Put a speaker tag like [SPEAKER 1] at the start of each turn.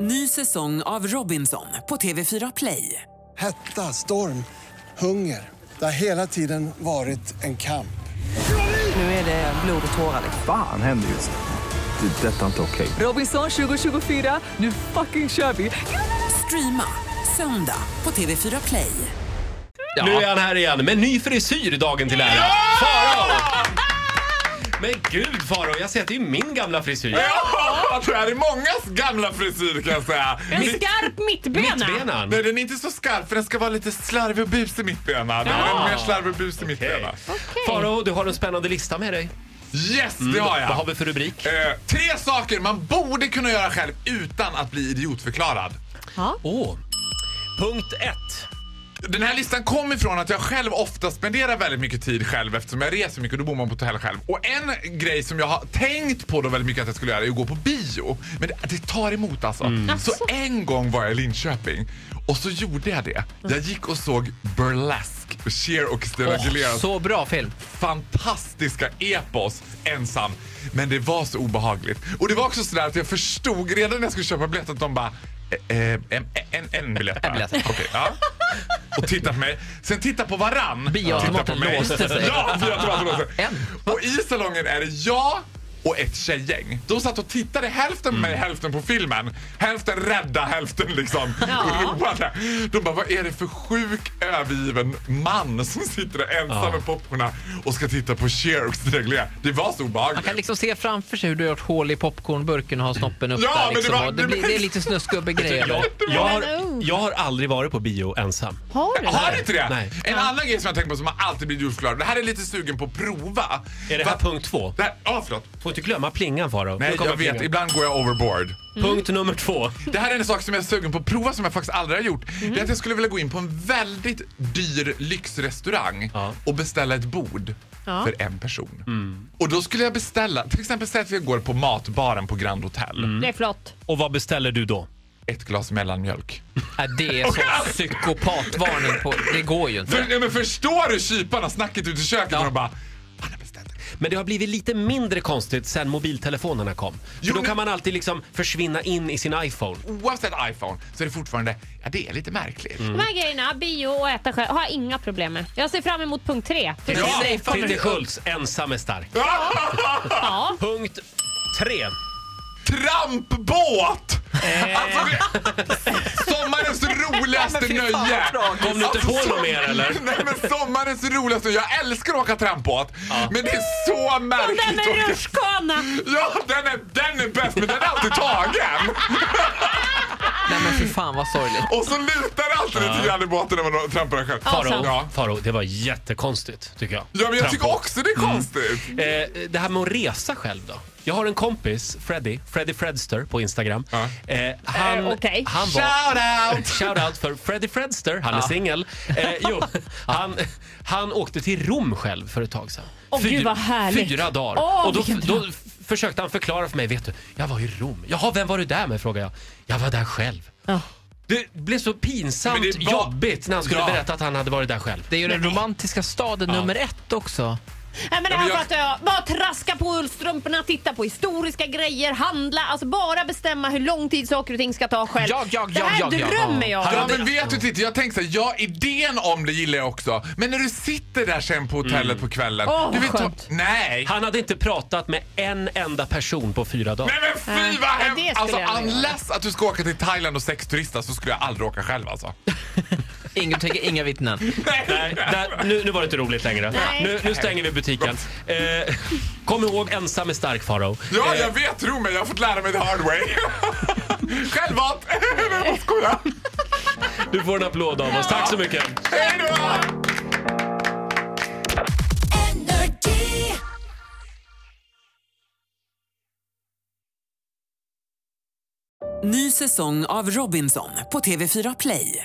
[SPEAKER 1] Ny säsong av Robinson på TV4 Play.
[SPEAKER 2] Hetta, storm, hunger. Det har hela tiden varit en kamp.
[SPEAKER 1] Nu är det blod och tårar. liksom.
[SPEAKER 3] Fan händer just nu. Det. är Detta är inte okej.
[SPEAKER 1] Robinson 2024, nu fucking kör vi! Streama söndag på TV4 Play.
[SPEAKER 4] Nu är han här igen med ny frisyr dagen till ära. Farao! Men gud Farao, jag ser att det är min gamla frisyr.
[SPEAKER 5] Ja, jag tror det här är mångas gamla frisyr kan jag säga.
[SPEAKER 6] En skarp mittbena.
[SPEAKER 4] Mittbenan.
[SPEAKER 5] Nej, den är inte så skarp för den ska vara lite slarvig och busig mittbena. Den har en mer slarvig och busig mittbena.
[SPEAKER 4] Farao, du har en spännande lista med dig.
[SPEAKER 5] Yes, det har jag.
[SPEAKER 4] Vad har vi för rubrik?
[SPEAKER 5] Eh, tre saker man borde kunna göra själv utan att bli idiotförklarad.
[SPEAKER 4] Åh. Punkt ett.
[SPEAKER 5] Den här listan kom ifrån att jag själv ofta spenderar väldigt mycket tid själv eftersom jag reser mycket och då bor man på hotell själv. Och en grej som jag har tänkt på då väldigt mycket att jag skulle göra är att gå på bio. Men det, det tar emot alltså. Så en gång var jag i Linköping och så gjorde jag det. Jag gick och såg Burlesque, Cher och Christina Aguileras
[SPEAKER 7] Så bra film.
[SPEAKER 5] fantastiska epos ensam. Men det var så obehagligt. Och det var också sådär att jag förstod redan när jag skulle köpa biljetten att de bara eh, eh, en, en, en biljett bara.
[SPEAKER 7] biljett.
[SPEAKER 5] Okej, ja. Och titta på mig. Sen titta på varann.
[SPEAKER 7] Bioautomaten
[SPEAKER 5] Titta på mig.
[SPEAKER 7] låste sig.
[SPEAKER 5] Ja, bioautomaten låste sig.
[SPEAKER 7] En.
[SPEAKER 5] Och i salongen är det jag och ett tjejgäng. De satt och tittade hälften på mig, hälften på filmen. Hälften rädda, hälften liksom oroade. De bara, vad är det för sjuk övergiven man som sitter där ensam med popcornen och ska titta på Cher och Christina Aguilera? Det var så
[SPEAKER 7] Man
[SPEAKER 5] obehagligt.
[SPEAKER 7] kan liksom se framför sig hur du har gjort hål i popcornburken och har snoppen upp
[SPEAKER 5] Ja,
[SPEAKER 7] där.
[SPEAKER 5] men
[SPEAKER 7] Liksom.
[SPEAKER 5] det var-
[SPEAKER 7] Och det, blir, det är lite
[SPEAKER 4] Jag,
[SPEAKER 7] snuskgubbe-grejer.
[SPEAKER 4] jag, har, jag har aldrig varit på bio ensam.
[SPEAKER 6] Har du?
[SPEAKER 5] Har du inte det?
[SPEAKER 4] Nej.
[SPEAKER 5] En annan grej som jag tänker på som man alltid blir idiotförklarad. Det här är lite sugen på att prova.
[SPEAKER 4] Är det här
[SPEAKER 5] Va-
[SPEAKER 4] punkt två?
[SPEAKER 5] Det här- Ja, förlåt.
[SPEAKER 4] Får inte glömma plingan Farao. Nu
[SPEAKER 5] Nej,
[SPEAKER 4] kommer
[SPEAKER 5] jag vet.
[SPEAKER 4] plingan.
[SPEAKER 5] Ibland går jag overboard.
[SPEAKER 4] Punkt nummer två.
[SPEAKER 5] Det här är en sak som jag är sugen på att prova som jag faktiskt aldrig har gjort. Det är att jag skulle vilja gå in på en väldigt dyr lyxrestaurang
[SPEAKER 4] Ja.
[SPEAKER 5] och beställa ett bord
[SPEAKER 6] Ja.
[SPEAKER 5] för en person. Och då skulle jag beställa, till exempel säg att vi går på matbaren på Grand Hotel.
[SPEAKER 6] Det är flott.
[SPEAKER 4] Och vad beställer du då?
[SPEAKER 5] Ett glas mellanmjölk.
[SPEAKER 7] Ja, det är så psykopatvarning på... Det går ju inte.
[SPEAKER 5] För, ja, men förstår du kyparna snacket ute i köket
[SPEAKER 7] Ja.
[SPEAKER 5] och de bara "Han har beställt det."
[SPEAKER 4] Men det har blivit lite mindre konstigt sen mobiltelefonerna kom. För
[SPEAKER 5] Jo,
[SPEAKER 4] då
[SPEAKER 5] men-
[SPEAKER 4] kan man alltid liksom försvinna in i sin iPhone.
[SPEAKER 5] Oavsett iPhone så är det fortfarande, ja det är lite märkligt.
[SPEAKER 6] De här grejerna, bio och äta själv, har jag inga problem med. Jag ser fram emot punkt tre.
[SPEAKER 5] Ja.
[SPEAKER 4] Titti Schultz, ensam är stark.
[SPEAKER 6] Ja.
[SPEAKER 4] Punkt tre.
[SPEAKER 5] Trampbåt!
[SPEAKER 6] Eh.
[SPEAKER 5] Alltså, det- sommarens roligaste nöje!
[SPEAKER 4] Kom du inte på
[SPEAKER 5] Alltså,
[SPEAKER 4] något mer eller?
[SPEAKER 5] Nej men sommarens roligaste, jag älskar att åka trampbåt. Men det är så
[SPEAKER 6] Och
[SPEAKER 5] märkligt.
[SPEAKER 6] den med
[SPEAKER 5] att-
[SPEAKER 6] rutschkana!
[SPEAKER 5] Ja, den är, den är bäst men den är alltid tagen.
[SPEAKER 7] Nej men fy fan vad sorgligt.
[SPEAKER 5] Och så lutar det alltid lite grann i båten när man trampar den själv.
[SPEAKER 4] Faro,
[SPEAKER 5] Ja.
[SPEAKER 4] Faro, det var jättekonstigt tycker jag.
[SPEAKER 5] ja, men jag tycker
[SPEAKER 4] Trampor.
[SPEAKER 5] också det är
[SPEAKER 4] Mm.
[SPEAKER 5] konstigt.
[SPEAKER 4] Eh, det här med att resa själv då. Jag har en kompis, Freddy, Freddy Fredster på Instagram.
[SPEAKER 5] Ja.
[SPEAKER 4] Eh, han,
[SPEAKER 6] Eh, okej.
[SPEAKER 4] han var...
[SPEAKER 5] Shout out!
[SPEAKER 4] Shoutout för Freddy Fredster, han är singel. Eh, jo, han, han åkte till Rom själv för ett tag sedan.
[SPEAKER 6] Åh, gud, vad härligt.
[SPEAKER 4] Fyra dagar.
[SPEAKER 6] Åh,
[SPEAKER 4] och då,
[SPEAKER 6] vilken
[SPEAKER 4] då
[SPEAKER 6] dröm.
[SPEAKER 4] f- försökte han förklara för mig, vet du, jag var i Rom. Jaha, vem var du där med? frågade jag. Jag var där själv.
[SPEAKER 6] Ja.
[SPEAKER 4] Det blev så pinsamt
[SPEAKER 5] Men det var-
[SPEAKER 4] jobbigt när han skulle
[SPEAKER 5] Ja.
[SPEAKER 4] berätta att han hade varit där själv.
[SPEAKER 7] Det är ju den romantiska staden nummer ett också.
[SPEAKER 6] Nej, men det
[SPEAKER 5] men
[SPEAKER 6] här
[SPEAKER 5] jag-
[SPEAKER 6] fattar jag. Bara traska på ullstrumporna, titta på historiska grejer, handla. Alltså bara bestämma hur lång tid saker och ting ska ta själv.
[SPEAKER 7] Jag, jag,
[SPEAKER 6] det
[SPEAKER 7] jag,
[SPEAKER 6] här
[SPEAKER 7] jag, jag.
[SPEAKER 6] drömmer jag om.
[SPEAKER 5] Ja men vet du Titti, jag tänker så här, ja idén om det gillar jag också. Men när du sitter där sen på hotellet
[SPEAKER 4] Mm.
[SPEAKER 5] på kvällen.
[SPEAKER 6] Åh,
[SPEAKER 5] du
[SPEAKER 6] vad
[SPEAKER 5] vill ta-
[SPEAKER 6] skönt.
[SPEAKER 5] Nej!
[SPEAKER 4] Han hade inte pratat med en enda person på fyra dagar.
[SPEAKER 5] Nej men fy vad
[SPEAKER 6] Nej,
[SPEAKER 5] hemskt!
[SPEAKER 6] det skulle
[SPEAKER 5] Alltså
[SPEAKER 6] jag aldrig
[SPEAKER 5] unless att du ska åka till Thailand och sexturista så skulle jag aldrig åka själv alltså.
[SPEAKER 7] Inga, tänker inga vittnen.
[SPEAKER 4] Nej, där, nu, nu var det inte roligt längre.
[SPEAKER 6] Nej.
[SPEAKER 4] Nu, nu stänger vi butiken. Eh, kom ihåg, ensam är stark Farao.
[SPEAKER 5] Ja
[SPEAKER 6] Eh.
[SPEAKER 5] jag vet, tro mig, jag har fått lära mig the hard way. Självvalt! Nej jag skojar.
[SPEAKER 4] Du får en applåd av oss. Tack så mycket.
[SPEAKER 5] Hej då!
[SPEAKER 1] Ny säsong av Robinson på TV4 Play.